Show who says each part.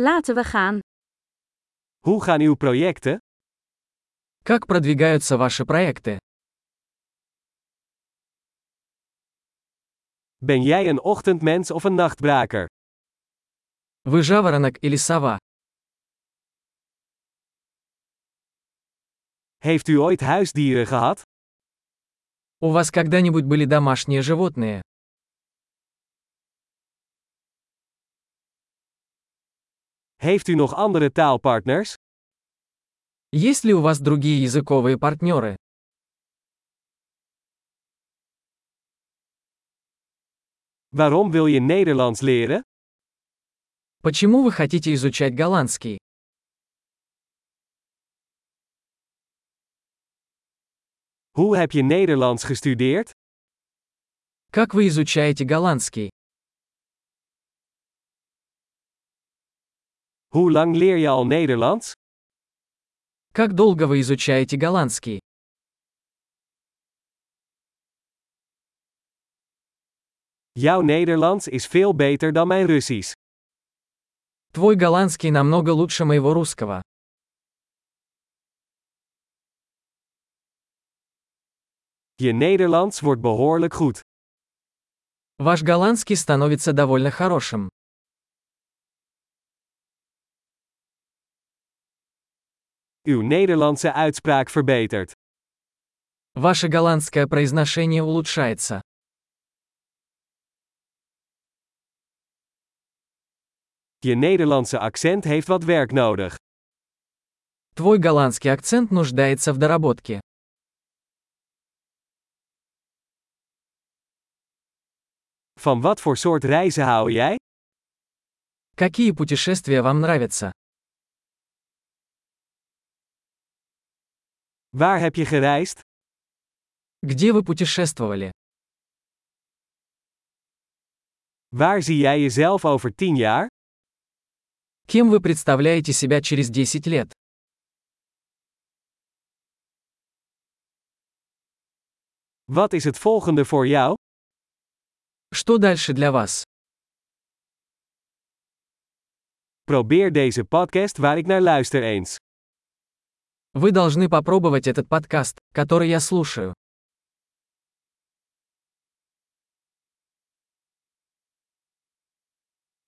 Speaker 1: Laten we gaan.
Speaker 2: Hoe gaan uw projecten?
Speaker 3: Как продвигаются ваши проекты?
Speaker 2: Ben jij een ochtendmens of een nachtbraker?
Speaker 3: Вы жаворонок или сова?
Speaker 2: Heeft u ooit huisdieren gehad?
Speaker 3: У вас когда-нибудь были домашние животные?
Speaker 2: Heeft u nog andere taalpartners?
Speaker 3: Есть ли у вас другие языковые партнеры?
Speaker 2: Waarom wil je Nederlands leren?
Speaker 3: Почему вы хотите изучать голландский?
Speaker 2: Hoe heb je Nederlands gestudeerd?
Speaker 3: Как вы изучаете голландский?
Speaker 2: Hoe lang leer je al Nederlands?
Speaker 3: Как долго вы изучаете голландский?
Speaker 2: Jouw Nederlands is veel beter dan mijn Russisch.
Speaker 3: Твой голландский намного лучше моего русского.
Speaker 2: Je Nederlands wordt behoorlijk goed.
Speaker 3: Ваш голландский становится довольно хорошим.
Speaker 2: Uw Nederlandse uitspraak verbetert.
Speaker 3: Ваше голландское произношение улучшается.
Speaker 2: Je Nederlandse accent heeft wat werk nodig.
Speaker 3: Твой голландский акцент нуждается в доработке.
Speaker 2: Van wat voor soort reizen hou jij?
Speaker 3: Какие путешествия вам нравятся?
Speaker 2: Waar heb je gereisd?
Speaker 3: Где вы путешествовали?
Speaker 2: Waar zie jij jezelf over 10 jaar?
Speaker 3: Кем вы представляете себя через 10 лет?
Speaker 2: Wat is het volgende voor jou?
Speaker 3: Что дальше для вас?
Speaker 2: Probeer deze podcast waar ik naar luister eens.
Speaker 3: Вы должны попробовать этот подкаст, который я слушаю.